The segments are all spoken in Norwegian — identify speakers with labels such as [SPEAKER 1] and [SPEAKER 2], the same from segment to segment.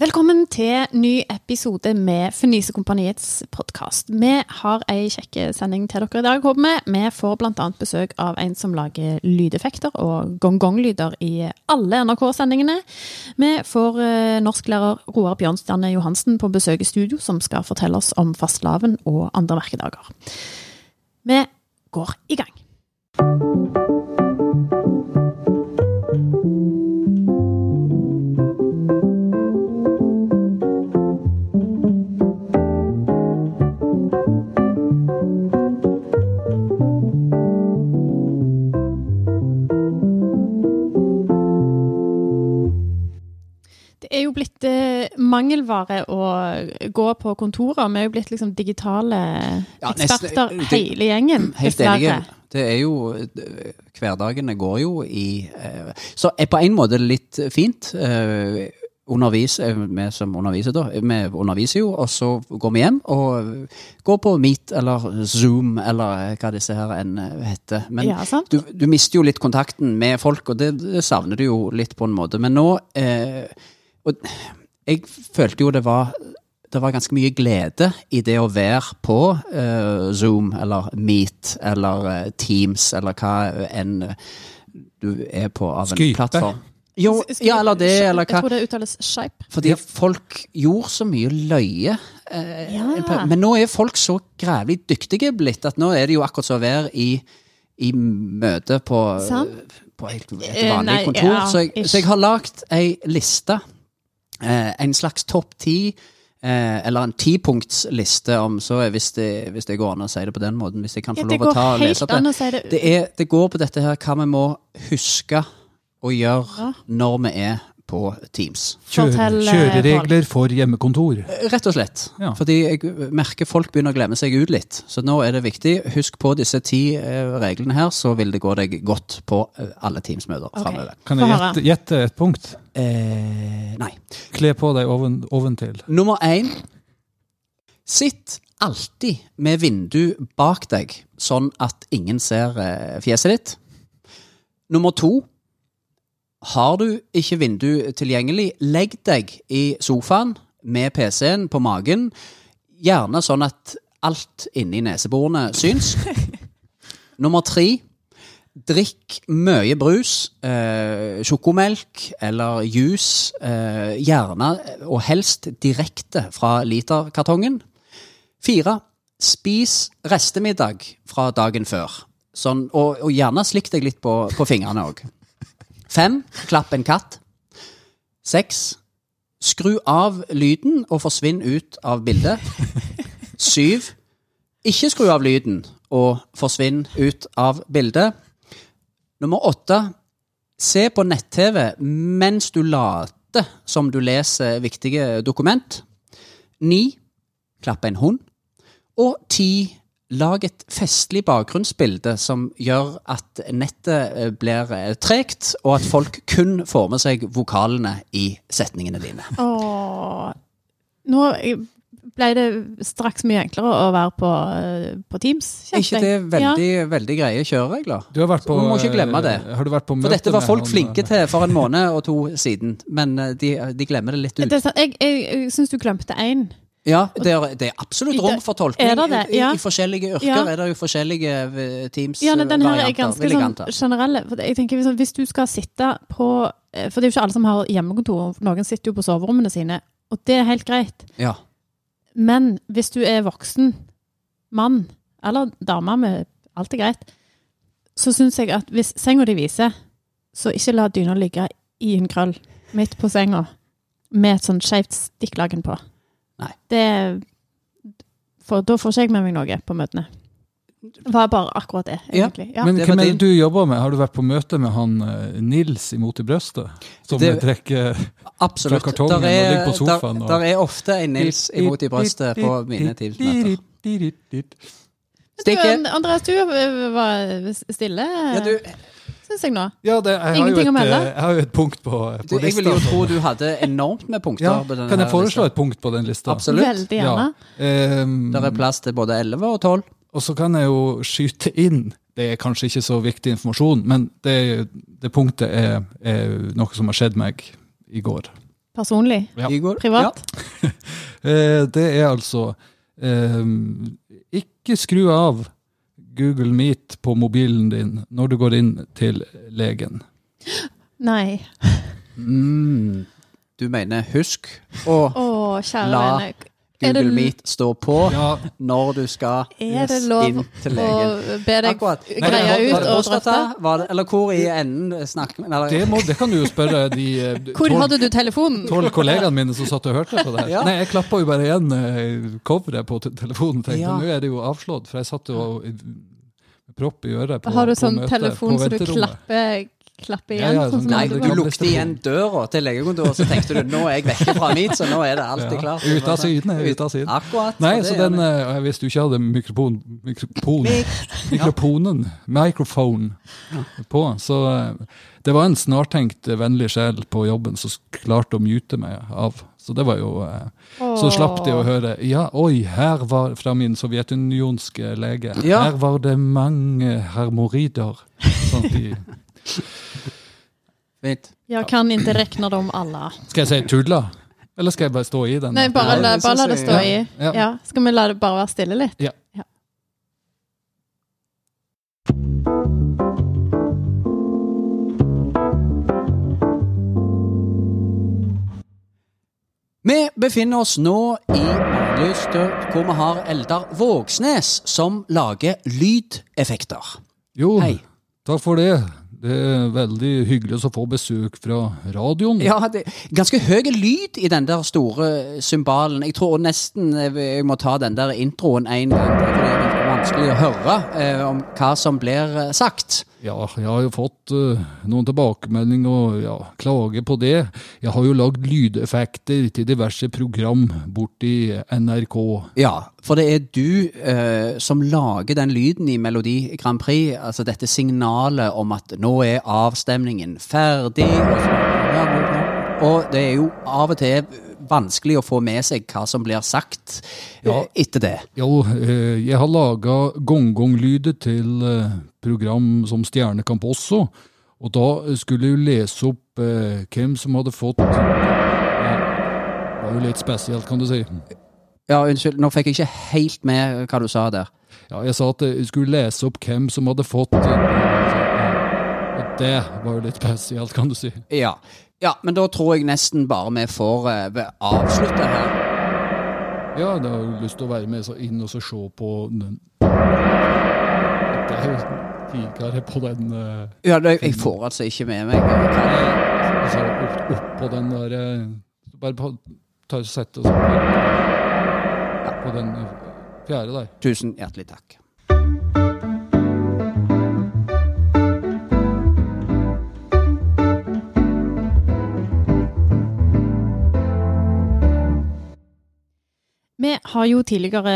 [SPEAKER 1] Velkommen til ny episode med Fnisekompaniets podkast. Vi har ei kjekk sending til dere i dag, håper vi. Vi får bl.a. besøk av en som lager lydeffekter og gong-gong-lyder i alle NRK-sendingene. Vi får eh, norsklærer Roar Bjørnstjerne Johansen på besøk i studio, som skal fortelle oss om fastelavn og andre merkedager. Vi går i gang. Det er jo blitt eh, mangelvare å gå på kontorer. Vi er jo blitt liksom digitale
[SPEAKER 2] Ja, nesten-
[SPEAKER 1] eksperter,
[SPEAKER 2] det-
[SPEAKER 1] hele gjengen.
[SPEAKER 2] Helt enig. Det er jo eh, Hverdagene går jo i eh, Så er på en måte litt fint. eh, Undervis, eh, vi som underviser, da. Vi underviser jo, og så går vi hjem og går på Meet eller Zoom eller hva disse her enn eh, heter. Men
[SPEAKER 1] Ja, sant.
[SPEAKER 2] du, du mister jo litt kontakten med folk, og det, det savner du jo litt på en måte. Men nå eh, og, Jeg følte jo det var det var ganske mye glede i det å være på eh, Zoom eller Meet eller eh, Teams eller hva enn du er på av en
[SPEAKER 3] Skype.
[SPEAKER 2] plattform. Jo, ja, eller det, eller
[SPEAKER 1] Jeg
[SPEAKER 2] hva.
[SPEAKER 1] tror det uttales skeip.
[SPEAKER 2] Fordi folk gjorde så mye løye. eh, en
[SPEAKER 1] Ah.
[SPEAKER 2] periode. Men nå er folk så grævlig dyktige blitt at nå er det jo akkurat som å være i, i møte på,
[SPEAKER 1] Sant.
[SPEAKER 2] på et, et
[SPEAKER 1] Eh,
[SPEAKER 2] vanlig
[SPEAKER 1] nei,
[SPEAKER 2] kontor.
[SPEAKER 1] ja,
[SPEAKER 2] så, jeg,
[SPEAKER 1] ish.
[SPEAKER 2] så jeg har lagd ei liste, eh, en slags topp ti. Eh, eller en tipunktsliste, om så er- hvis det, hvis det går an å si det på den måten. Hvis jeg kan få
[SPEAKER 1] Ja, det
[SPEAKER 2] lov å
[SPEAKER 1] går
[SPEAKER 2] ta og lese
[SPEAKER 1] helt
[SPEAKER 2] opp det.
[SPEAKER 1] an å si det.
[SPEAKER 2] Det, er, det går på dette her hva vi må huske å gjøre når vi er på Teams.
[SPEAKER 3] Kjøre-
[SPEAKER 1] Fortell, eh,
[SPEAKER 3] Kjøreregler for hjemmekontor.
[SPEAKER 2] Rett og slett.
[SPEAKER 3] Ja.
[SPEAKER 2] Fordi jeg merker folk begynner å glemme seg ut litt. Så nå er det viktig. Husk på disse ti eh, reglene her, så vil det gå deg godt på eh, alle Teams-møter
[SPEAKER 1] Ok.
[SPEAKER 2] framover.
[SPEAKER 3] Kan
[SPEAKER 1] Få
[SPEAKER 3] jeg
[SPEAKER 1] høre.
[SPEAKER 3] gjette, gjette et punkt?
[SPEAKER 2] Eh, nei.
[SPEAKER 3] Kle på deg oven, oventil.
[SPEAKER 2] Nummer én Sitt alltid med vindu bak deg, sånn at ingen ser eh, fjeset ditt. Nummer to Har du ikke vindu tilgjengelig, legg deg i sofaen med PC-en på magen, gjerne sånn at alt inni neseborene syns. Nummer tre Drikk mye brus, eh, sjokomelk eller juice, eh, gjerne og helst direkte fra literkartongen. Fire, spis restemiddag fra dagen før. Sånn, og, og gjerne slikk deg litt på, på fingrene òg. Fem, klapp en katt. Seks, skru av lyden og forsvinn ut av bildet. Syv, ikke skru av lyden og forsvinn ut av bildet. Nummer åtte Se på nett-TV mens du later som du leser viktige dokument. Ni Klapp en hund. Og ti Lag et festlig bakgrunnsbilde som gjør at nettet eh, blir eh, tregt, og at folk kun får med seg vokalene i setningene dine.
[SPEAKER 1] Åh. Nå eh, ble det straks mye enklere å være på, eh, på Teams.
[SPEAKER 2] Er
[SPEAKER 1] kjente
[SPEAKER 2] ikke det
[SPEAKER 1] jeg.
[SPEAKER 2] veldig, veldig greie kjøreregler?
[SPEAKER 3] Du har vært på,
[SPEAKER 2] Så man må ikke glemme det.
[SPEAKER 3] eh, Har du vært på
[SPEAKER 2] For
[SPEAKER 3] møte
[SPEAKER 2] dette var
[SPEAKER 3] med
[SPEAKER 2] folk
[SPEAKER 3] han,
[SPEAKER 2] flinke
[SPEAKER 3] eh,
[SPEAKER 2] til for en måned og to siden, men eh, de, de glemmer det litt
[SPEAKER 1] Ja.
[SPEAKER 2] ut.
[SPEAKER 1] Det er sant. Jeg, jeg, jeg syns du glemte én.
[SPEAKER 2] Ja, det er, det er absolutt
[SPEAKER 1] I-
[SPEAKER 2] rom for tolkning.
[SPEAKER 1] er det det?
[SPEAKER 2] I-
[SPEAKER 1] Ja.
[SPEAKER 2] I, I forskjellige yrker
[SPEAKER 1] Ja.
[SPEAKER 2] er det jo forskjellige eh, teams
[SPEAKER 1] Ja, nei, den her er
[SPEAKER 2] varianter,
[SPEAKER 1] ganske
[SPEAKER 2] vil jeg
[SPEAKER 1] sånn
[SPEAKER 2] anta.
[SPEAKER 1] generell. For det- jeg tenker sånn, Hvis du skal sitte på eh, For det er jo ikke alle som har hjemmekontor. Noen sitter jo på soverommene sine, og det er helt greit.
[SPEAKER 2] Ja.
[SPEAKER 1] Men hvis du er voksen mann, eller dame med alt er greit, så syns jeg at hvis senga di viser, så ikke la dyna ligge i en krøll midt på senga med et sånn skeivt stikklagen på.
[SPEAKER 2] Nei.
[SPEAKER 1] Det for, Da får ikke jeg med meg noe på møtene. Det var bare akkurat det,
[SPEAKER 2] Ja,
[SPEAKER 1] egentlig. Ja.
[SPEAKER 3] Men
[SPEAKER 2] det var
[SPEAKER 3] hvem er
[SPEAKER 2] din.
[SPEAKER 3] det du jobber med? Har du vært på møte med han eh, Nils imot i brøstet? Som
[SPEAKER 2] Det-
[SPEAKER 3] trekker
[SPEAKER 2] Absolutt.
[SPEAKER 3] Fra kartongen
[SPEAKER 2] Der er,
[SPEAKER 3] og ligger på sofaen
[SPEAKER 2] der,
[SPEAKER 3] og-
[SPEAKER 2] der er ofte en Nils imot i brøstet på mine teamsmøter. Stikke.
[SPEAKER 1] Du, Andreas, du eh, var stille,
[SPEAKER 2] Ja, du,
[SPEAKER 1] syns jeg nå.
[SPEAKER 3] Ja, det, jeg, har jo
[SPEAKER 1] Ingenting
[SPEAKER 3] et,
[SPEAKER 1] å melde.
[SPEAKER 3] eh, jeg har jo et punkt på,
[SPEAKER 2] du,
[SPEAKER 3] på
[SPEAKER 2] jeg vil
[SPEAKER 3] lista.
[SPEAKER 2] jo tro du hadde enormt med punkter.
[SPEAKER 3] Ja,
[SPEAKER 2] på denne
[SPEAKER 3] kan jeg
[SPEAKER 2] her
[SPEAKER 3] foreslå
[SPEAKER 2] lista.
[SPEAKER 3] et punkt på den lista?
[SPEAKER 2] Absolutt.
[SPEAKER 1] Veldig gjerne.
[SPEAKER 3] Ehm,
[SPEAKER 2] Der er plass til både 11 og 12.
[SPEAKER 3] Og så kan jeg jo skyte inn Det er kanskje ikke så viktig informasjon, men det, det punktet er, er noe som har skjedd meg i går.
[SPEAKER 1] Personlig?
[SPEAKER 3] Ja.
[SPEAKER 2] Igor?
[SPEAKER 1] Privat?
[SPEAKER 3] Eh, det er altså eh, Ikke skru av Google Meet på mobilen din når du går inn til legen.
[SPEAKER 1] Nei.
[SPEAKER 2] Ja. Mm, du mener husk å
[SPEAKER 1] Å, kjære
[SPEAKER 2] La
[SPEAKER 1] vene. Er det
[SPEAKER 2] Google
[SPEAKER 1] l-
[SPEAKER 2] Meet stå på
[SPEAKER 3] Ja,
[SPEAKER 2] når du skal
[SPEAKER 1] Er det
[SPEAKER 3] Yes,
[SPEAKER 1] lov
[SPEAKER 2] inn til
[SPEAKER 1] å
[SPEAKER 2] legen.
[SPEAKER 1] be deg
[SPEAKER 2] Akkurat.
[SPEAKER 1] greie
[SPEAKER 3] Nei,
[SPEAKER 1] ut og
[SPEAKER 2] Prostata?
[SPEAKER 1] drøfte?
[SPEAKER 2] Var det, eller hvor i enden snakker vi
[SPEAKER 3] det,
[SPEAKER 2] eller-
[SPEAKER 3] må, det kan du jo spørre de eh,
[SPEAKER 1] Hvor
[SPEAKER 3] tolv-
[SPEAKER 1] hadde du telefonen?
[SPEAKER 3] tolv kollegaene mine som satt og hørte på det her.
[SPEAKER 2] Ja.
[SPEAKER 3] Nei, jeg klappa jo bare igjen eh, coveret på te- telefonen. tenkte
[SPEAKER 2] Ja.
[SPEAKER 3] Nå er det jo avslått, for jeg satt jo og med propp i øret på,
[SPEAKER 1] Har du
[SPEAKER 3] på
[SPEAKER 1] sånn
[SPEAKER 3] møtet
[SPEAKER 1] telefon
[SPEAKER 3] på
[SPEAKER 1] som du
[SPEAKER 3] venterommet.
[SPEAKER 1] klapper, klapper
[SPEAKER 3] Ja,
[SPEAKER 1] igjen?
[SPEAKER 3] ja,
[SPEAKER 1] sånn
[SPEAKER 3] sånn
[SPEAKER 1] som
[SPEAKER 2] Nei,
[SPEAKER 1] det
[SPEAKER 2] du
[SPEAKER 3] gamle-
[SPEAKER 1] var?
[SPEAKER 2] lukket igjen døra til legekontoret, så tenkte du nå er jeg vekke fra mitt, så nå er det alltid
[SPEAKER 3] Ja,
[SPEAKER 2] klart.
[SPEAKER 3] ut av syne, ut av syne.
[SPEAKER 2] Akkurat.
[SPEAKER 3] Nei,
[SPEAKER 2] og det
[SPEAKER 3] så
[SPEAKER 2] gjør
[SPEAKER 3] den,
[SPEAKER 2] vi.
[SPEAKER 3] eh, og hvis du ikke hadde mikrofon, mikrofon,
[SPEAKER 2] Mik-
[SPEAKER 3] mikrofonen microphone på, så eh, det var en snartenkt eh, vennlig sjel på jobben som s- klarte å mute meg av. Så det var jo eh, Så slapp de å høre Ja, oi, her var fra min sovjetunionske lege.
[SPEAKER 2] Ja.
[SPEAKER 3] Her var det mange hermorider. Sånn at de
[SPEAKER 2] Fint.
[SPEAKER 1] Jag kan inte räkna dem alla.
[SPEAKER 3] Skal jeg si tulla? Eller skal jeg bare stå i den?
[SPEAKER 1] Nej, bara,
[SPEAKER 2] det
[SPEAKER 1] la,
[SPEAKER 2] syns
[SPEAKER 1] bara la det
[SPEAKER 2] jeg-
[SPEAKER 1] stå
[SPEAKER 2] ja,
[SPEAKER 1] i.
[SPEAKER 3] ja.
[SPEAKER 1] Ja. Ska vi la det bara vara stilla lite?
[SPEAKER 3] Ja.
[SPEAKER 2] Vi befinner oss nå i Lystø, hvor vi har Eldar Vågsnes, som lager lydeffekter.
[SPEAKER 3] Jo,
[SPEAKER 2] Hei.
[SPEAKER 3] takk for det. Det er veldig hyggelig å få besøk fra radioen.
[SPEAKER 2] Ja, det, ganske høy lyd i den der store cymbalen. Jeg tror nesten eh, jeg må ta den der introen en gang, for det er litt vanskelig å høre eh, om hva som blir eh, sagt.
[SPEAKER 3] Ja, jeg har jo fått eh, noen tilbakemelding og ja, klage på det. Jeg har jo lagd lydeffekter til diverse program borti NRK.
[SPEAKER 2] Ja, for det er du eh, som lager den lyden i Melodi Grand Prix, altså dette signalet om at nå er avstemningen ferdig. Og, så, ja, ja, ja. og det er jo av og til vanskelig å få med seg hva som blir sagt eh,
[SPEAKER 3] Ja.
[SPEAKER 2] etter det.
[SPEAKER 3] Jo, eh, jeg har laga gonggonglyder til eh, program som Stjernekamp også. Og da skulle jeg jo lese opp eh, hvem som hadde fått ja, Det var jo litt spesielt, kan du si.
[SPEAKER 2] Ja, unnskyld, nå fikk jeg ikke helt med hva du sa der.
[SPEAKER 3] Ja, jeg sa at eh, jeg skulle lese opp hvem som hadde fått eh, Og det var jo litt spesielt, kan du si.
[SPEAKER 2] Ja, ja men da tror jeg nesten bare vi får eh, avslutte her.
[SPEAKER 3] Ja, da har jeg lyst til å være med så inn og så se på den. Det er jo tidligere på den eh,
[SPEAKER 2] Ja, det, jeg får altså ikke med meg hva
[SPEAKER 3] altså, opp, opp på den der eh, Bare på, ta og sette oss opp på den eh, fjerde der.
[SPEAKER 2] Tusen hjertelig takk.
[SPEAKER 1] Vi har jo tidligere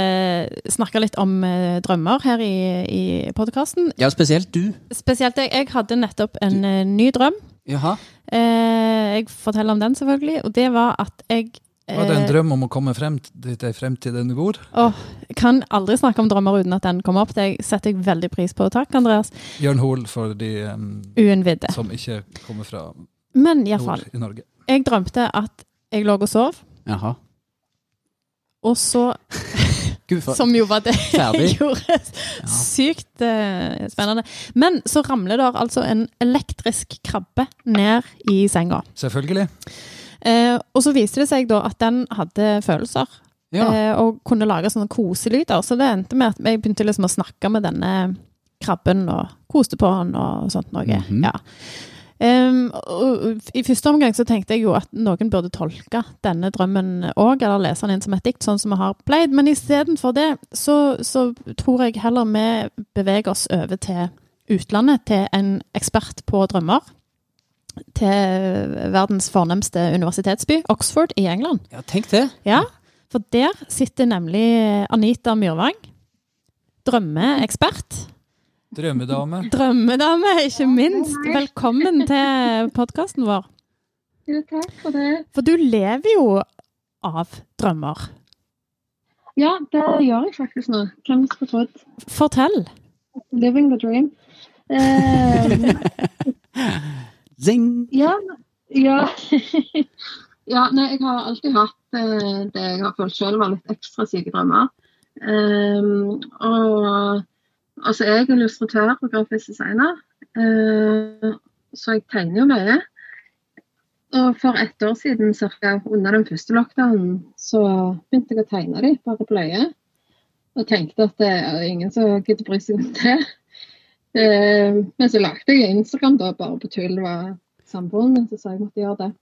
[SPEAKER 1] snakka litt om eh, drømmer her i, i podkasten.
[SPEAKER 2] Ja, spesielt du.
[SPEAKER 1] Spesielt jeg. Jeg hadde nettopp en eh, ny drøm.
[SPEAKER 2] Jaha.
[SPEAKER 1] Eh, jeg forteller om den, selvfølgelig. Og det var at jeg
[SPEAKER 3] Var det en
[SPEAKER 1] eh,
[SPEAKER 3] drøm om å komme frem til ei fremtid enn går?
[SPEAKER 1] åh, kan aldri snakke om drømmer uten at den kommer opp. Det setter jeg veldig pris på. Takk, Andreas.
[SPEAKER 3] Jørn Hoel, for de eh,
[SPEAKER 1] Uinnvidde.
[SPEAKER 3] som ikke kommer fra
[SPEAKER 1] Men iallfall.
[SPEAKER 3] nord i Norge.
[SPEAKER 1] Jeg drømte at jeg lå og sov,
[SPEAKER 2] Jaha.
[SPEAKER 1] og så,
[SPEAKER 2] Gud, for...
[SPEAKER 1] som jo var det
[SPEAKER 2] Ferdig.
[SPEAKER 1] jeg gjorde, sykt eh, spennende Men så ramler der altså en elektrisk krabbe ned i senga.
[SPEAKER 3] Selvfølgelig.
[SPEAKER 1] Eh, og så viste det seg da at den hadde følelser
[SPEAKER 2] Ja.
[SPEAKER 1] eh, og kunne lage sånne koselyder. Så det endte med at jeg begynte liksom å snakke med denne krabben og koste på han og sånt noe.
[SPEAKER 2] Mhm.
[SPEAKER 1] ja. Em, og, og I første omgang så tenkte jeg jo at noen burde tolke denne drømmen òg, eller lese den inn som et dikt, sånn som vi har pleid. Men istedenfor det så, så tror jeg heller vi beveger oss over til utlandet, til en ekspert på drømmer. Til verdens fornemste universitetsby, Oxford i England.
[SPEAKER 2] ja, tenk det.
[SPEAKER 1] Ja, for der sitter nemlig Anita Myrvang. Drømmeekspert.
[SPEAKER 3] Drømmedame.
[SPEAKER 1] Drømmedame, ikke minst. Velkommen til podkasten vår.
[SPEAKER 4] Jo, takk for det.
[SPEAKER 1] For du lever jo av drømmer.
[SPEAKER 4] Ja, det gjør jeg faktisk nå. Hvem skulle trodd?
[SPEAKER 1] Fortell.
[SPEAKER 4] Living the dream. Eh,
[SPEAKER 2] Zing!
[SPEAKER 4] ja, ja. Ja, nei, jeg har alltid hatt eh, det jeg har følt selv var litt ekstra syke drømmer. Ehm, og altså, jeg er illustratør og grafisk designer, eh, så jeg tegner jo mye. Og for ett år siden, cirka under den første lockdownen, så begynte jeg å tegne de bare på løye. Og tenkte at det er ingen som gidder bry seg om det. Ehm, men så lagde jeg Instagram da, bare på tull. Det var samboeren min som sa jeg måtte gjøre det.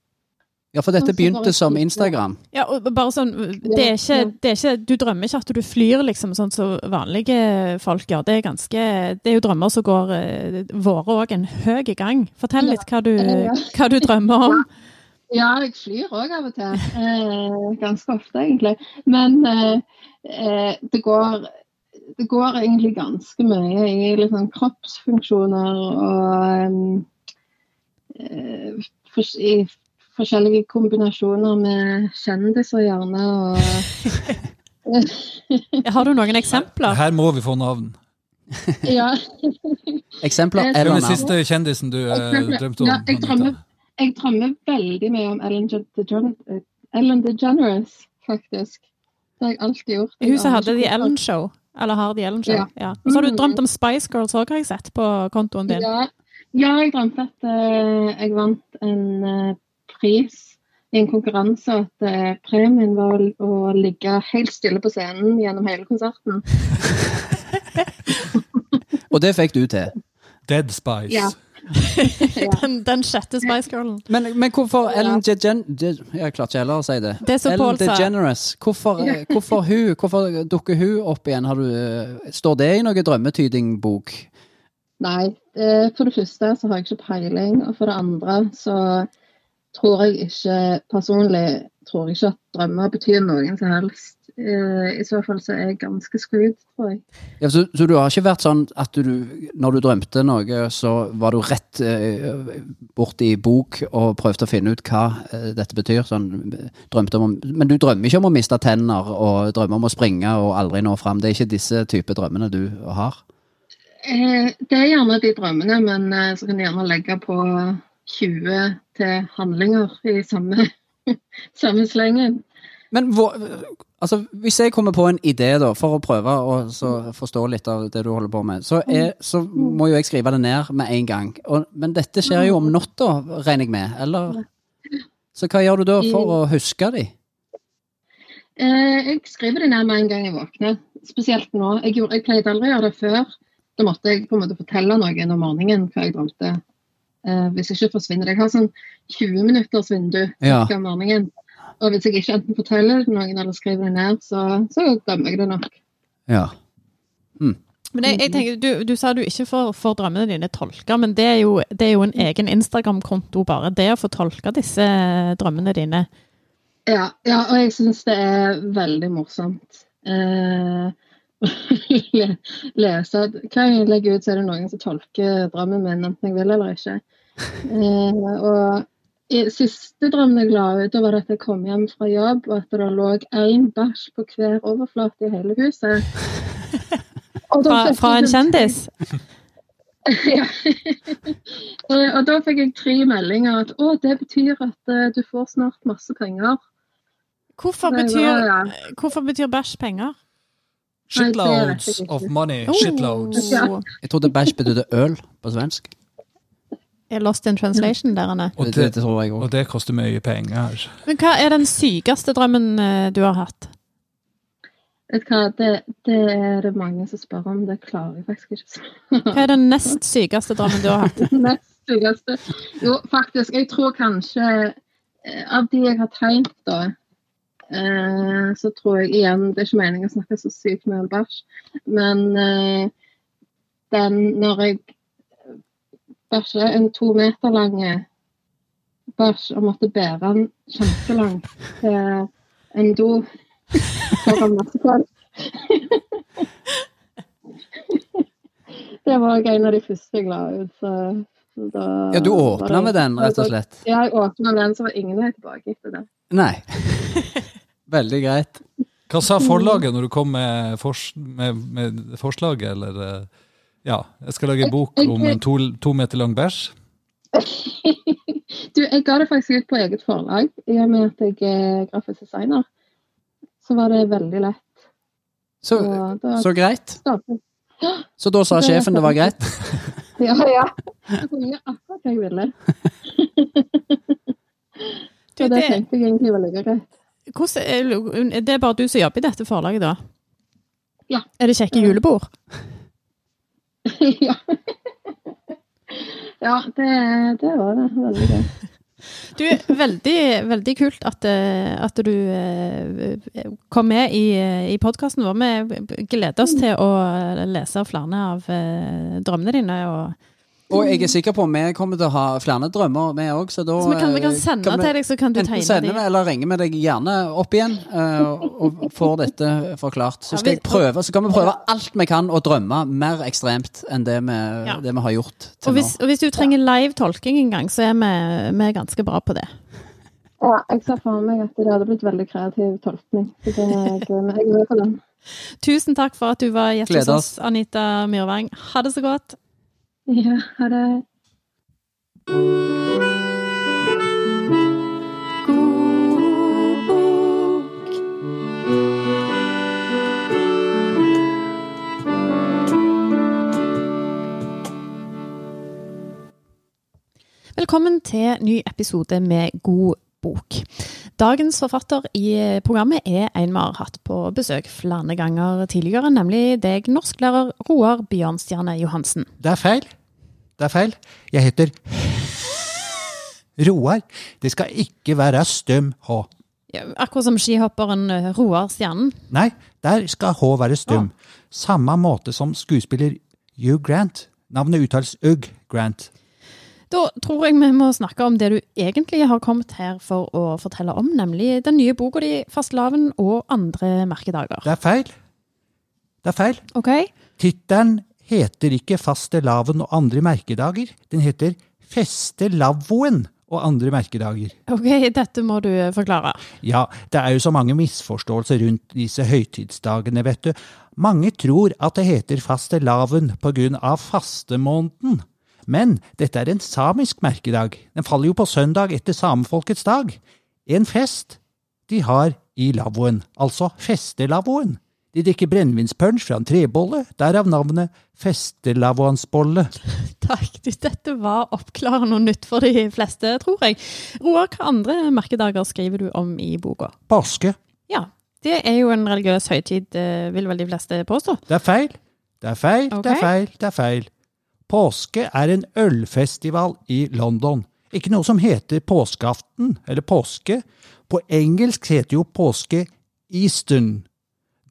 [SPEAKER 2] Ja, for dette
[SPEAKER 4] Altså, bare
[SPEAKER 2] begynte som
[SPEAKER 4] skrive.
[SPEAKER 2] Instagram.
[SPEAKER 1] Ja, og bare sånn, det er ikke,
[SPEAKER 4] Ja, ja.
[SPEAKER 1] det er ikke, du drømmer ikke at du flyr, liksom, sånn som vanlige folk gjør. Det er, ganske, det er jo drømmer som går eh, våre òg en høy gang. Fortell litt hva du,
[SPEAKER 4] Ja.
[SPEAKER 1] hva du drømmer om.
[SPEAKER 4] Ja, jeg flyr òg av og til. Eh, ganske ofte, egentlig. Men eh, eh, det, går, det går egentlig ganske mye i liksom, kroppsfunksjoner og em, eh, fors i forskjellige kombinasjoner med kjendiser, gjerne. Og,
[SPEAKER 1] Har du noen eksempler?
[SPEAKER 3] Her må vi få navn.
[SPEAKER 4] ja.
[SPEAKER 2] Eksempler eller
[SPEAKER 3] Hvem
[SPEAKER 4] Jeg
[SPEAKER 3] er den
[SPEAKER 2] navn.
[SPEAKER 3] Eh, siste kjendisen du eh, drømte om?
[SPEAKER 4] Ja, jeg drømmer-
[SPEAKER 3] Anita?
[SPEAKER 4] Jeg drømmer veldig mye om Ellen, Je- DeGen- eh, Ellen DeGeneres, faktisk. Det har jeg alltid gjort. Jeg
[SPEAKER 1] Hun som
[SPEAKER 4] aner
[SPEAKER 1] hadde
[SPEAKER 4] ikke
[SPEAKER 1] de
[SPEAKER 4] hvorfor.
[SPEAKER 1] Ellen-show. Eller har de Ellen-show.
[SPEAKER 4] Ja.
[SPEAKER 1] Ja. Mm. Og så har du drømt om Spice Girls òg, har jeg sett på kontoen din.
[SPEAKER 4] Ja, ja jeg drømte at eh, jeg vant en eh, pris i en konkurranse, og at eh, premien var å, å ligge helt stille på scenen gjennom hele konserten.
[SPEAKER 2] Og det fikk du til.
[SPEAKER 3] Dead Spice.
[SPEAKER 4] Ja.
[SPEAKER 1] Den, den sjette Spice Girlen.
[SPEAKER 2] Men, men hvorfor Ellen DeGen... De, jeg klarte ikke heller å si det.
[SPEAKER 1] Det som
[SPEAKER 2] Ellen
[SPEAKER 1] Paul sa.
[SPEAKER 2] DeGeneres. Hvorfor, eh, hvorfor, hun, hvorfor dukker hun opp igjen? Har du, eh, står det i noe drømmetydingbok?
[SPEAKER 4] Nei, eh, for det første så har jeg ikke peiling, og for det andre så tror jeg ikke personlig tror jeg ikke at drømmer betyr noen som helst. Eh, I så fall så er jeg ganske skrudd, tror jeg.
[SPEAKER 2] Ja, så, så du har ikke vært sånn at du, når du drømte noe, så var du rett eh, bort i bok og prøvde å finne ut hva eh, dette betyr? Sånn, eh, drømte om, men du drømmer ikke om å miste tenner og drømmer om å springe og aldri nå fram? Det er ikke disse type drømmene du har?
[SPEAKER 4] Eh, Det er gjerne de drømmene, men eh, så kan du gjerne legge på 20 til handlinger i samme, samme slengen.
[SPEAKER 2] Men hvor, altså, hvis jeg kommer på en idé, da, for å prøve å så forstå litt av det du holder på med, så, er, så må jo jeg skrive det ned med en gang. Og, men dette skjer jo om natta, regner jeg med? Eller? Så hva gjør du da for å huske de?
[SPEAKER 4] Eh, Jeg skriver det ned med en gang jeg våkner, spesielt nå. Jeg, gjorde, jeg pleide aldri å gjøre det før. Da måtte jeg på en måte fortelle noen om morgenen hva jeg drømte. Eh, Hvis jeg ikke forsvinner det. Jeg har sånn 20 minutters vindu
[SPEAKER 2] Ja.
[SPEAKER 4] om morgenen. Og hvis jeg ikke enten forteller det til noen eller skriver det ned, så, så glemmer jeg det nok.
[SPEAKER 2] Ja.
[SPEAKER 1] Men jeg, jeg tenker, du, du sa du ikke får, får drømmene dine tolka, men det er jo, det er jo en egen Instagram-konto bare. Det å få tolka disse eh, drømmene dine.
[SPEAKER 4] Ja, ja og jeg syns det er veldig morsomt. Eh, å le- lese Hver gang jeg legger ut, så er det noen som tolker drømmen min, enten jeg vil eller ikke. Eh, og i siste drømmen jeg la ut, da var det at jeg kom hjem fra jobb, og at det lå én bæsj på hver overflate i hele huset. Og da
[SPEAKER 1] Fra,
[SPEAKER 4] fikk
[SPEAKER 1] fra
[SPEAKER 4] jeg
[SPEAKER 1] en
[SPEAKER 4] sånn-
[SPEAKER 1] kjendis.
[SPEAKER 4] ja. Eh, og da fikk jeg tre meldinger at å, det betyr at eh, du får snart masse penger.
[SPEAKER 1] Hvorfor
[SPEAKER 4] Det
[SPEAKER 1] betyr,
[SPEAKER 4] var-
[SPEAKER 1] hvorfor betyr bæsj penger?
[SPEAKER 3] Shitloads of money. Shitloads.
[SPEAKER 1] Oh,
[SPEAKER 2] Jeg trodde bæsj betydde øl på svensk.
[SPEAKER 1] er lost in translation der, Anne.
[SPEAKER 3] Og
[SPEAKER 2] Det, det,
[SPEAKER 3] det,
[SPEAKER 2] tror jeg
[SPEAKER 3] og
[SPEAKER 2] òg.
[SPEAKER 3] det koster mye penger.
[SPEAKER 1] Men hva er den sykeste drømmen eh, du har hatt?
[SPEAKER 4] Vet du hva, det, det er det mange som spør om. Det klarer jeg faktisk ikke. å svare.
[SPEAKER 1] Hva er den nest sykeste drømmen du har hatt?
[SPEAKER 4] Nest sykeste. Jo, faktisk. Jeg tror kanskje eh, Av de jeg har tegnet, da, eh, så tror jeg igjen Det er ikke meningen å snakke så sykt med bæsj, men eh, den når jeg bæsja en to meter lang bæsj og måtte bære den kjempelangt til en do foran masse folk Det var en av de første jeg la ut. så- så da-
[SPEAKER 2] Ja, du åpna med den, rett og slett?
[SPEAKER 4] Ja, jeg åpna den, så var ingen vei tilbake etter det.
[SPEAKER 2] Nei. Veldig greit.
[SPEAKER 3] Hva sa
[SPEAKER 2] Mm.
[SPEAKER 3] forlaget når du kom med, fors, med, med forslaget, eller eh, Ja, jeg skal lage en bok om en to, to meter lang bæsj.
[SPEAKER 4] Du, jeg ga det faktisk ut på eget forlag, i og med at jeg er grafisk designer. Så var det veldig lett.
[SPEAKER 2] Så,
[SPEAKER 4] Og da
[SPEAKER 2] så greit.
[SPEAKER 4] skapte
[SPEAKER 2] Så da sa sjefen det sånn. var greit.
[SPEAKER 4] Ja, ja. Jeg kunne gjøre akkurat hva jeg ville.
[SPEAKER 1] Du,
[SPEAKER 4] Så det
[SPEAKER 1] det,
[SPEAKER 4] tenkte jeg egentlig var like greit.
[SPEAKER 1] hvordan, er lo- det er bare du som jobber i dette forlaget, da?
[SPEAKER 4] Ja.
[SPEAKER 1] Er det kjekke julebord?
[SPEAKER 4] ja. ja, det, det var det. Veldig gøy.
[SPEAKER 1] Du, veldig, veldig kult at, eh, at du eh, kom med i, eh, i podkasten vår. Vi gleder oss til å lese flere av eh, drømmene dine. Og,
[SPEAKER 2] Og jeg er sikker på at vi kommer til å ha flere drømmer, vi òg, så da
[SPEAKER 1] så vi kan, vi kan
[SPEAKER 2] eh,
[SPEAKER 1] sende
[SPEAKER 2] vi-
[SPEAKER 1] til deg, så kan du
[SPEAKER 2] Enten
[SPEAKER 1] tegne
[SPEAKER 2] sender vi
[SPEAKER 1] dem.
[SPEAKER 2] eller ringer vi deg gjerne opp igjen eh, og og får dette forklart.
[SPEAKER 1] Ja,
[SPEAKER 2] Så
[SPEAKER 1] vi-
[SPEAKER 2] skal jeg prøve, så kan vi prøve alt vi kan å drømme mer ekstremt enn det vi,
[SPEAKER 1] Ja.
[SPEAKER 2] det vi har gjort
[SPEAKER 1] Og
[SPEAKER 2] til nå.
[SPEAKER 1] hvis, og hvis du trenger live tolking en gang, så er vi, vi er ganske bra på det.
[SPEAKER 4] Ja, jeg ser for meg at det hadde blitt veldig kreativ tolkning. Så det, det, men jeg er med på den.
[SPEAKER 1] Tusen takk for at du var gjest hos
[SPEAKER 2] Gleder
[SPEAKER 1] oss, Anita Myrvang. Ha det så godt.
[SPEAKER 4] Ja, ha det.
[SPEAKER 1] Velkommen til ny episode med God bok. Dagens forfatter i programmet er en vi har hatt på besøk flere ganger tidligere, nemlig deg, norsklærer Roar Bjørnstjerne Johansen.
[SPEAKER 5] Det er feil. Det er feil. Jeg heter Roar. Det skal ikke være støm H.
[SPEAKER 1] Ja, Akkurat som skihopperen eh, Roar Stjernen.
[SPEAKER 5] Nei, der skal H være støm. Samme måte som skuespiller Hugh Grant. Navnet uttales Ugg Grant.
[SPEAKER 1] Da tror jeg vi må snakke om det du egentlig har kommet her for å fortelle om, nemlig den nye boka di 'Fastelavn og andre merkedager'.
[SPEAKER 5] Det er feil. Det er feil.
[SPEAKER 1] Ok?
[SPEAKER 5] Tittelen heter ikke Fastelavn og andre merkedager. Den heter Festelavvoen og andre merkedager.
[SPEAKER 1] Ok, dette må du forklare.
[SPEAKER 5] Ja, det er jo så mange misforståelser rundt disse høytidsdagene, vet du. Mange tror at det heter fastelavn på grunn av fastemåneden. Men dette er en samisk merkedag. Den faller jo på søndag etter samefolkets dag. En fest de har i lavvoen, altså festelavvoen. De drikker brennevinspunsj fra en trebolle, derav navnet festelavvoansbolle.
[SPEAKER 1] Takk. Du, dette var oppklarende noe nytt for de fleste, tror jeg. Roar, hva andre merkedager skriver du om i boka?
[SPEAKER 5] Påske.
[SPEAKER 1] Ja, det er jo en religiøs høytid, eh, vil vel de fleste påstå.
[SPEAKER 5] Det er feil. Det er feil, det
[SPEAKER 1] Ok.
[SPEAKER 5] er feil, det er feil. Påske er en ølfestival i London. Ikke noe som heter påskeaften, eller påske. På engelsk heter jo påske Eastern.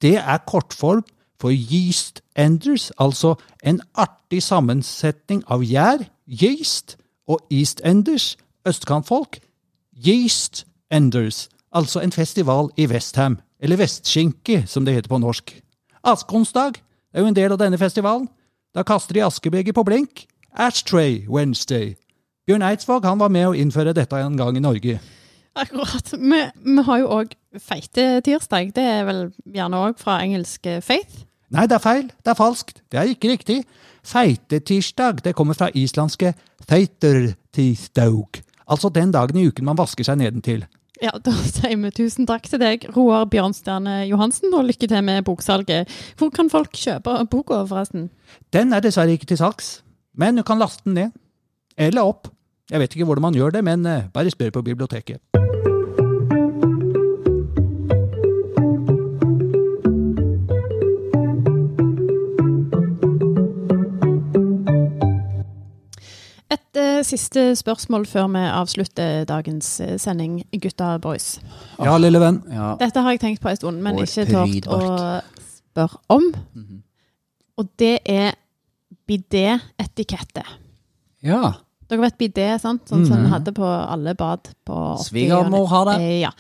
[SPEAKER 5] Det er kortform for yeast enders, altså en artig sammensetning av gjær, yeast, og eastenders, østkantfolk, yeast enders, altså en festival i Vestham, eller Vestskinke, som det heter på norsk. Askonsdag er jo en del av denne festivalen. Da kaster de askebeger på blink. Ashtray Wednesday. Bjørn Eidsvåg han var med å innføre dette en gang i Norge.
[SPEAKER 1] Akkurat. Vi, vi har jo òg feite tirsdag. Det er vel gjerne òg fra engelsk eh, faith.
[SPEAKER 5] Nei, det er feil. Det er falskt. Det er ikke riktig. Feitetirsdag det kommer fra islandske feitertirsdag, altså den dagen i uken man vasker seg nedentil.
[SPEAKER 1] Ja, Da sier vi tusen takk til deg, Roar Bjørnstjerne Johansen, og lykke til med boksalget. Hvor kan folk kjøpe boka, forresten?
[SPEAKER 5] Den er dessverre ikke til salgs, men du kan laste den ned. Eller opp. Jeg vet ikke hvordan man gjør det, men eh, bare spør på biblioteket.
[SPEAKER 1] Et eh, siste spørsmål før vi avslutter dagens eh, sending, gutta boys.
[SPEAKER 5] Ja, lille venn.
[SPEAKER 2] Ja.
[SPEAKER 1] Dette har jeg tenkt på en stund, men
[SPEAKER 2] Og et Mhm.
[SPEAKER 1] ikke tort å
[SPEAKER 2] prydbark.
[SPEAKER 1] spørre om. Og det er bidé-etikette.
[SPEAKER 2] ja.
[SPEAKER 1] Dere vet bidé, sant? Sånn som en hadde på alle bad på 80-
[SPEAKER 2] Mhm. Svigermor har det.
[SPEAKER 1] Eh, Ja.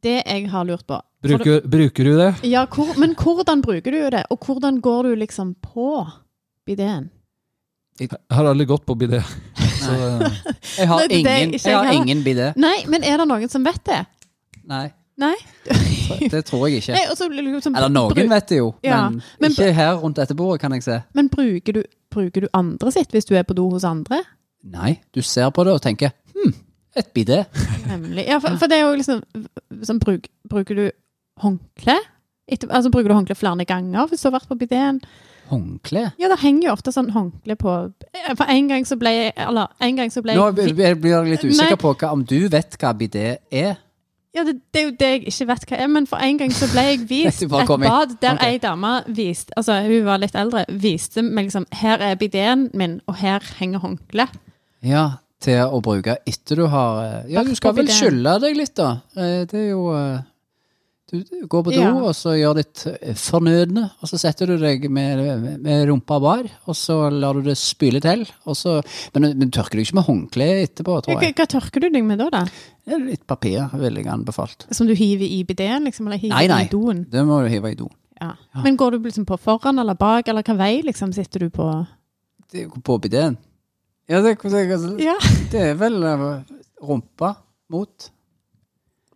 [SPEAKER 1] Det jeg har lurt på
[SPEAKER 3] Bruker, bruker du det?
[SPEAKER 1] ja, hvor, Men hvordan bruker du det? Og hvordan går du liksom på bidéen?
[SPEAKER 3] Jeg har aldri gått på bidé. Så eh,
[SPEAKER 2] Jeg har
[SPEAKER 1] Nei, det er
[SPEAKER 2] ingen,
[SPEAKER 1] ikke
[SPEAKER 2] jeg har
[SPEAKER 1] jeg heller.
[SPEAKER 2] ingen bidé.
[SPEAKER 1] Nei, men er det noen som vet det?
[SPEAKER 2] Nei,
[SPEAKER 1] Nei?
[SPEAKER 2] det tror jeg ikke.
[SPEAKER 1] Nei og så liksom,
[SPEAKER 2] Eller
[SPEAKER 1] bru-
[SPEAKER 2] noen vet det jo,
[SPEAKER 1] Ja,
[SPEAKER 2] men,
[SPEAKER 1] men-
[SPEAKER 2] ikke her rundt dette bordet, kan jeg se.
[SPEAKER 1] Men bruker du, bruker du andre sitt hvis du er på do hos andre?
[SPEAKER 2] Nei, du ser på det og tenker hm, Et bidé.
[SPEAKER 1] Nemlig. Ja, for, for det er jo liksom sånn, bruk, Bruker du håndkle? Etter, altså, bruker du håndkle flere ganger hvis du har vært på bideen?
[SPEAKER 2] Håndkle.
[SPEAKER 1] Ja, det henger jo ofte sånn håndkle på For en gang så ble jeg Eller en gang så ble
[SPEAKER 2] Nå
[SPEAKER 1] jeg
[SPEAKER 2] blir jeg litt
[SPEAKER 1] Nei.
[SPEAKER 2] usikker på hva, om du vet hva bidé er.
[SPEAKER 1] Ja, det, det er jo det jeg ikke vet hva er, men for en gang så ble jeg vist
[SPEAKER 2] Du
[SPEAKER 1] et
[SPEAKER 2] bare kom inn.
[SPEAKER 1] bad der
[SPEAKER 2] Ok.
[SPEAKER 1] ei dame viste Altså, hun var litt eldre, viste meg liksom Her er bideen min, og her henger håndkleet.
[SPEAKER 2] Ja, til å bruke etter du har eh, Ja,
[SPEAKER 1] Vært
[SPEAKER 2] du skal
[SPEAKER 1] på
[SPEAKER 2] vel
[SPEAKER 1] bidé.
[SPEAKER 2] skylle deg litt, da. Eh, Det er jo eh, Du går på do,
[SPEAKER 1] Ja.
[SPEAKER 2] og så gjør ditt eh, fornødne, og så setter du deg med, med rumpa bar, og så lar du det spyle til, og så Men, men du tørker deg ikke med håndkle etterpå,
[SPEAKER 1] Hva,
[SPEAKER 2] tror jeg.
[SPEAKER 1] hva tørker du deg med da, da?
[SPEAKER 2] Det er Litt papir ville jeg anbefalt.
[SPEAKER 1] Som du hiver i bideen, liksom? Eller hiver
[SPEAKER 2] Nei, nei.
[SPEAKER 1] i doen?
[SPEAKER 2] Det må du hive i do.
[SPEAKER 1] Ja. Men går du liksom på foran eller bak, eller hvilken vei liksom sitter du på?
[SPEAKER 2] Det er jo På bidéen. Ja, det, det,
[SPEAKER 1] Ja,
[SPEAKER 2] det er vel eh, rumpa mot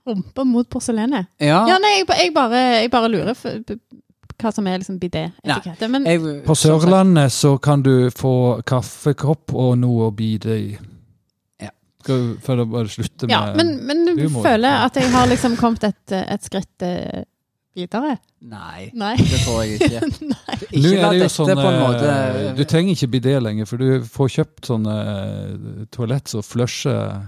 [SPEAKER 1] rumpa mot porselenet.
[SPEAKER 2] Ja.
[SPEAKER 1] Ja, nei, jeg, ba- jeg, bare, jeg bare lurer for, b- hva som er liksom bidé-etikette. Men
[SPEAKER 2] Jeg,
[SPEAKER 5] På
[SPEAKER 2] som sagt,
[SPEAKER 5] Sørlandet så kan du få kaffekopp og noe å bite i.
[SPEAKER 2] Ja.
[SPEAKER 3] Skal vi for å bare slutte med
[SPEAKER 1] ja, men, men jeg
[SPEAKER 3] humor.
[SPEAKER 1] føler at jeg har liksom kommet et, et skritt eh, videre.
[SPEAKER 2] Nei,
[SPEAKER 1] Nei.
[SPEAKER 2] det tror jeg ikke.
[SPEAKER 1] Nei.
[SPEAKER 3] Nå
[SPEAKER 2] Ikke la
[SPEAKER 3] er det jo
[SPEAKER 2] dette
[SPEAKER 3] sånn
[SPEAKER 2] på en måte
[SPEAKER 3] eh, Du trenger ikke bidé lenger, for du får kjøpt sånne eh, toalett som flusher eh,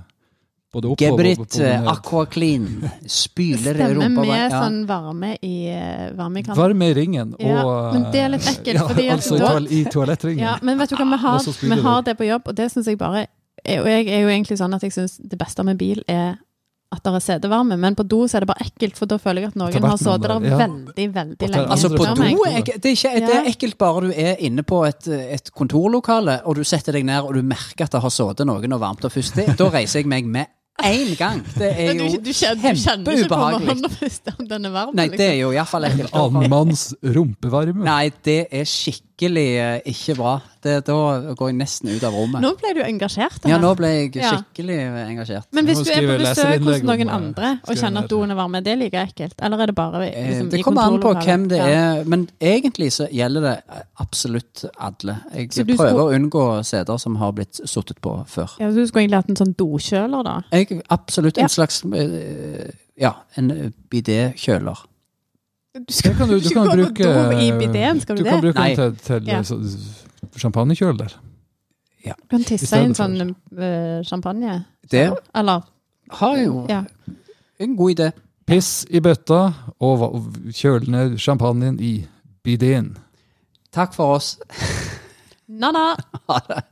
[SPEAKER 3] både opp og- og- og-
[SPEAKER 2] Gebrit, eh,
[SPEAKER 3] og-
[SPEAKER 2] Aqua Clean, spyler i
[SPEAKER 1] Stemmer
[SPEAKER 2] rumpa
[SPEAKER 1] med
[SPEAKER 2] ja.
[SPEAKER 1] sånn varme i eh, varmekanten.
[SPEAKER 3] Varme i ringen og
[SPEAKER 1] Ja, men det er litt
[SPEAKER 3] eh,
[SPEAKER 1] ekkelt,
[SPEAKER 3] ja,
[SPEAKER 1] fordi at
[SPEAKER 3] altså, i
[SPEAKER 1] da-
[SPEAKER 3] toal- I
[SPEAKER 2] Mm.
[SPEAKER 3] toalettringen.
[SPEAKER 1] Ja, men vet du hva, vi har,
[SPEAKER 3] Og så spyler
[SPEAKER 1] vi
[SPEAKER 3] du.
[SPEAKER 1] har det på jobb, og det syns jeg bare Og jeg er jo egentlig sånn at jeg syns det beste med bil er at det er setevarme, men på do så er det bare ekkelt, for da føler jeg at
[SPEAKER 3] Ta
[SPEAKER 1] noen
[SPEAKER 3] verten
[SPEAKER 1] har sittet der
[SPEAKER 3] om det, ja.
[SPEAKER 1] veldig, veldig
[SPEAKER 3] Og ta-
[SPEAKER 1] lenge.
[SPEAKER 2] Altså, på
[SPEAKER 1] før
[SPEAKER 2] do
[SPEAKER 1] meg.
[SPEAKER 2] er ikke- det er, ikke, det er
[SPEAKER 1] Ja.
[SPEAKER 2] ekkelt bare du er inne på et, et kontorlokale, og du setter deg ned og du merker at det har sittet noen og varmt og først. det- Da reiser jeg meg med en gang. Det er
[SPEAKER 1] Men du,
[SPEAKER 2] jo
[SPEAKER 1] du, kjenner, du kjenner ikke på
[SPEAKER 2] kjempeubehagelig.
[SPEAKER 1] hånda først om den er varm. liksom.
[SPEAKER 2] Nei, det er jo iallfall ekkelt.
[SPEAKER 3] Annenmanns rumpevarme.
[SPEAKER 2] Nei, det er skikkelig eh, ikke bra. Det, da går jeg nesten ut av rommet.
[SPEAKER 1] Nå ble du engasjert.
[SPEAKER 2] Ja,
[SPEAKER 1] her.
[SPEAKER 2] nå ble jeg
[SPEAKER 1] Ja.
[SPEAKER 2] skikkelig engasjert.
[SPEAKER 1] Men hvis
[SPEAKER 3] Nå
[SPEAKER 1] du er på
[SPEAKER 3] skriver jeg
[SPEAKER 1] besøk hos
[SPEAKER 3] leserinnlegg
[SPEAKER 1] noen
[SPEAKER 3] om, eh,
[SPEAKER 1] andre og
[SPEAKER 3] skriver
[SPEAKER 1] kjenner
[SPEAKER 3] ned.
[SPEAKER 1] at doen er varm, er det like ekkelt? Eller er det bare
[SPEAKER 2] Eh,
[SPEAKER 1] liksom,
[SPEAKER 2] det
[SPEAKER 1] i
[SPEAKER 2] kommer an på
[SPEAKER 1] kontorlokalet?
[SPEAKER 2] hvem det
[SPEAKER 1] Ja.
[SPEAKER 2] er, men egentlig så gjelder det eh, absolutt alle. Jeg
[SPEAKER 1] Så du
[SPEAKER 2] prøver
[SPEAKER 1] skulle-
[SPEAKER 2] å unngå seter som har blitt sittet på før.
[SPEAKER 1] Ja, så Du skulle egentlig hatt en sånn dokjøler, da.
[SPEAKER 2] Jeg, absolutt
[SPEAKER 1] Ja.
[SPEAKER 2] en slags eh, ja, en bidé-kjøler.
[SPEAKER 1] Du skal,
[SPEAKER 3] kan du- du kan
[SPEAKER 1] gå
[SPEAKER 3] bruke-
[SPEAKER 1] på do i bideen, skal
[SPEAKER 3] Du
[SPEAKER 1] du,
[SPEAKER 3] kan
[SPEAKER 1] det?
[SPEAKER 3] bruke
[SPEAKER 2] Nei.
[SPEAKER 3] den til, til
[SPEAKER 1] Ja.
[SPEAKER 3] eh, så- champagnekjøler.
[SPEAKER 1] Du kan
[SPEAKER 3] i
[SPEAKER 1] tisse
[SPEAKER 3] stedet
[SPEAKER 1] i en
[SPEAKER 3] for-
[SPEAKER 1] sånn eh, champagne.
[SPEAKER 2] Det
[SPEAKER 1] Eller
[SPEAKER 2] har jo
[SPEAKER 1] ja.
[SPEAKER 2] en god idé.
[SPEAKER 3] Piss i bøtta og va- og kjøl ned champagnen i bidéen.
[SPEAKER 2] Takk for oss.
[SPEAKER 1] Na-na!
[SPEAKER 2] Ha det.